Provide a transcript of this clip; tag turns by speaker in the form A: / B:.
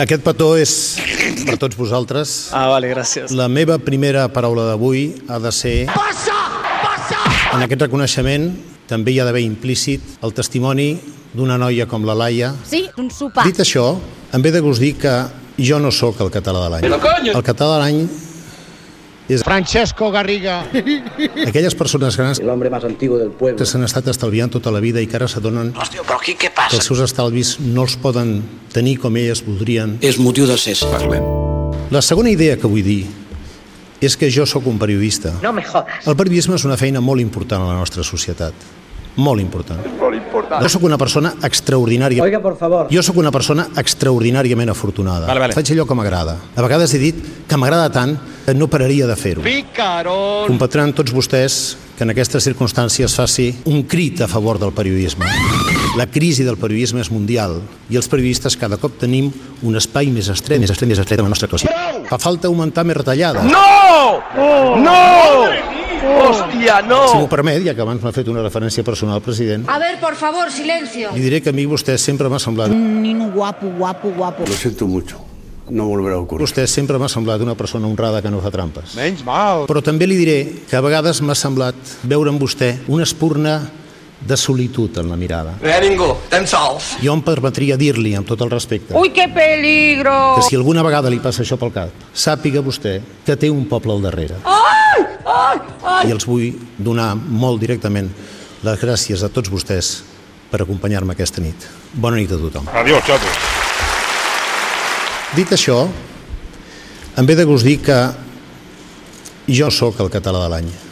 A: Aquest petó és per tots vosaltres.
B: Ah, vale, gràcies.
A: La meva primera paraula d'avui ha de ser... Passa! Passa! En aquest reconeixement també hi ha d'haver implícit el testimoni d'una noia com la Laia.
C: Sí, d'un sopar.
A: Dit això, em ve de gust dir que jo no sóc el català de l'any. El català de l'any és
D: Francesco Garriga.
A: aquelles persones grans
E: el hombre más antiguo del pueblo.
A: que s'han estat estalviant tota la vida i que ara s'adonen
F: Hòstia, però aquí què passa?
A: que els seus estalvis no els poden tenir com elles voldrien.
F: És motiu de cés.
G: Parlem.
A: La segona idea que vull dir és que jo sóc un periodista.
H: No me jodas.
A: El periodisme és una feina molt important a la nostra societat. Molt important. Molt important. Jo sóc una persona extraordinària.
E: Oiga, por favor.
A: Jo sóc una persona extraordinàriament afortunada.
B: Vale, vale.
A: Faig allò que m'agrada. A vegades he dit que m'agrada tant que no pararia de fer-ho.
D: Picarón.
A: Competran tots vostès que en aquestes circumstàncies faci un crit a favor del periodisme. La crisi del periodisme és mundial i els periodistes cada cop tenim un espai més estret, més estret, més estret en la nostra classe. Fa falta augmentar més retallades. No! No! Hòstia, no! Si m'ho permet, ja que abans m'ha fet una referència personal, president,
C: A ver, por favor, silencio.
A: li diré que a mi vostè sempre m'ha semblat
C: Un nino guapo, guapo, guapo.
G: Lo siento mucho. No volverá a ocurrir.
A: Vostè sempre m'ha semblat una persona honrada que no fa trampes.
D: Menys mal.
A: Però també li diré que a vegades m'ha semblat veure en vostè una espurna de solitud en la mirada.
F: Bé, ningú, estem sols.
A: Jo em permetria dir-li, amb tot el respecte,
H: Uy, qué peligro.
A: que si alguna vegada li passa això pel cap, sàpiga vostè que té un poble al darrere. I els vull donar molt directament les gràcies a tots vostès per acompanyar-me aquesta nit. Bona nit a tothom.
D: Adiós, xato.
A: Dit això, em ve de gust dir que jo sóc el català de l'any.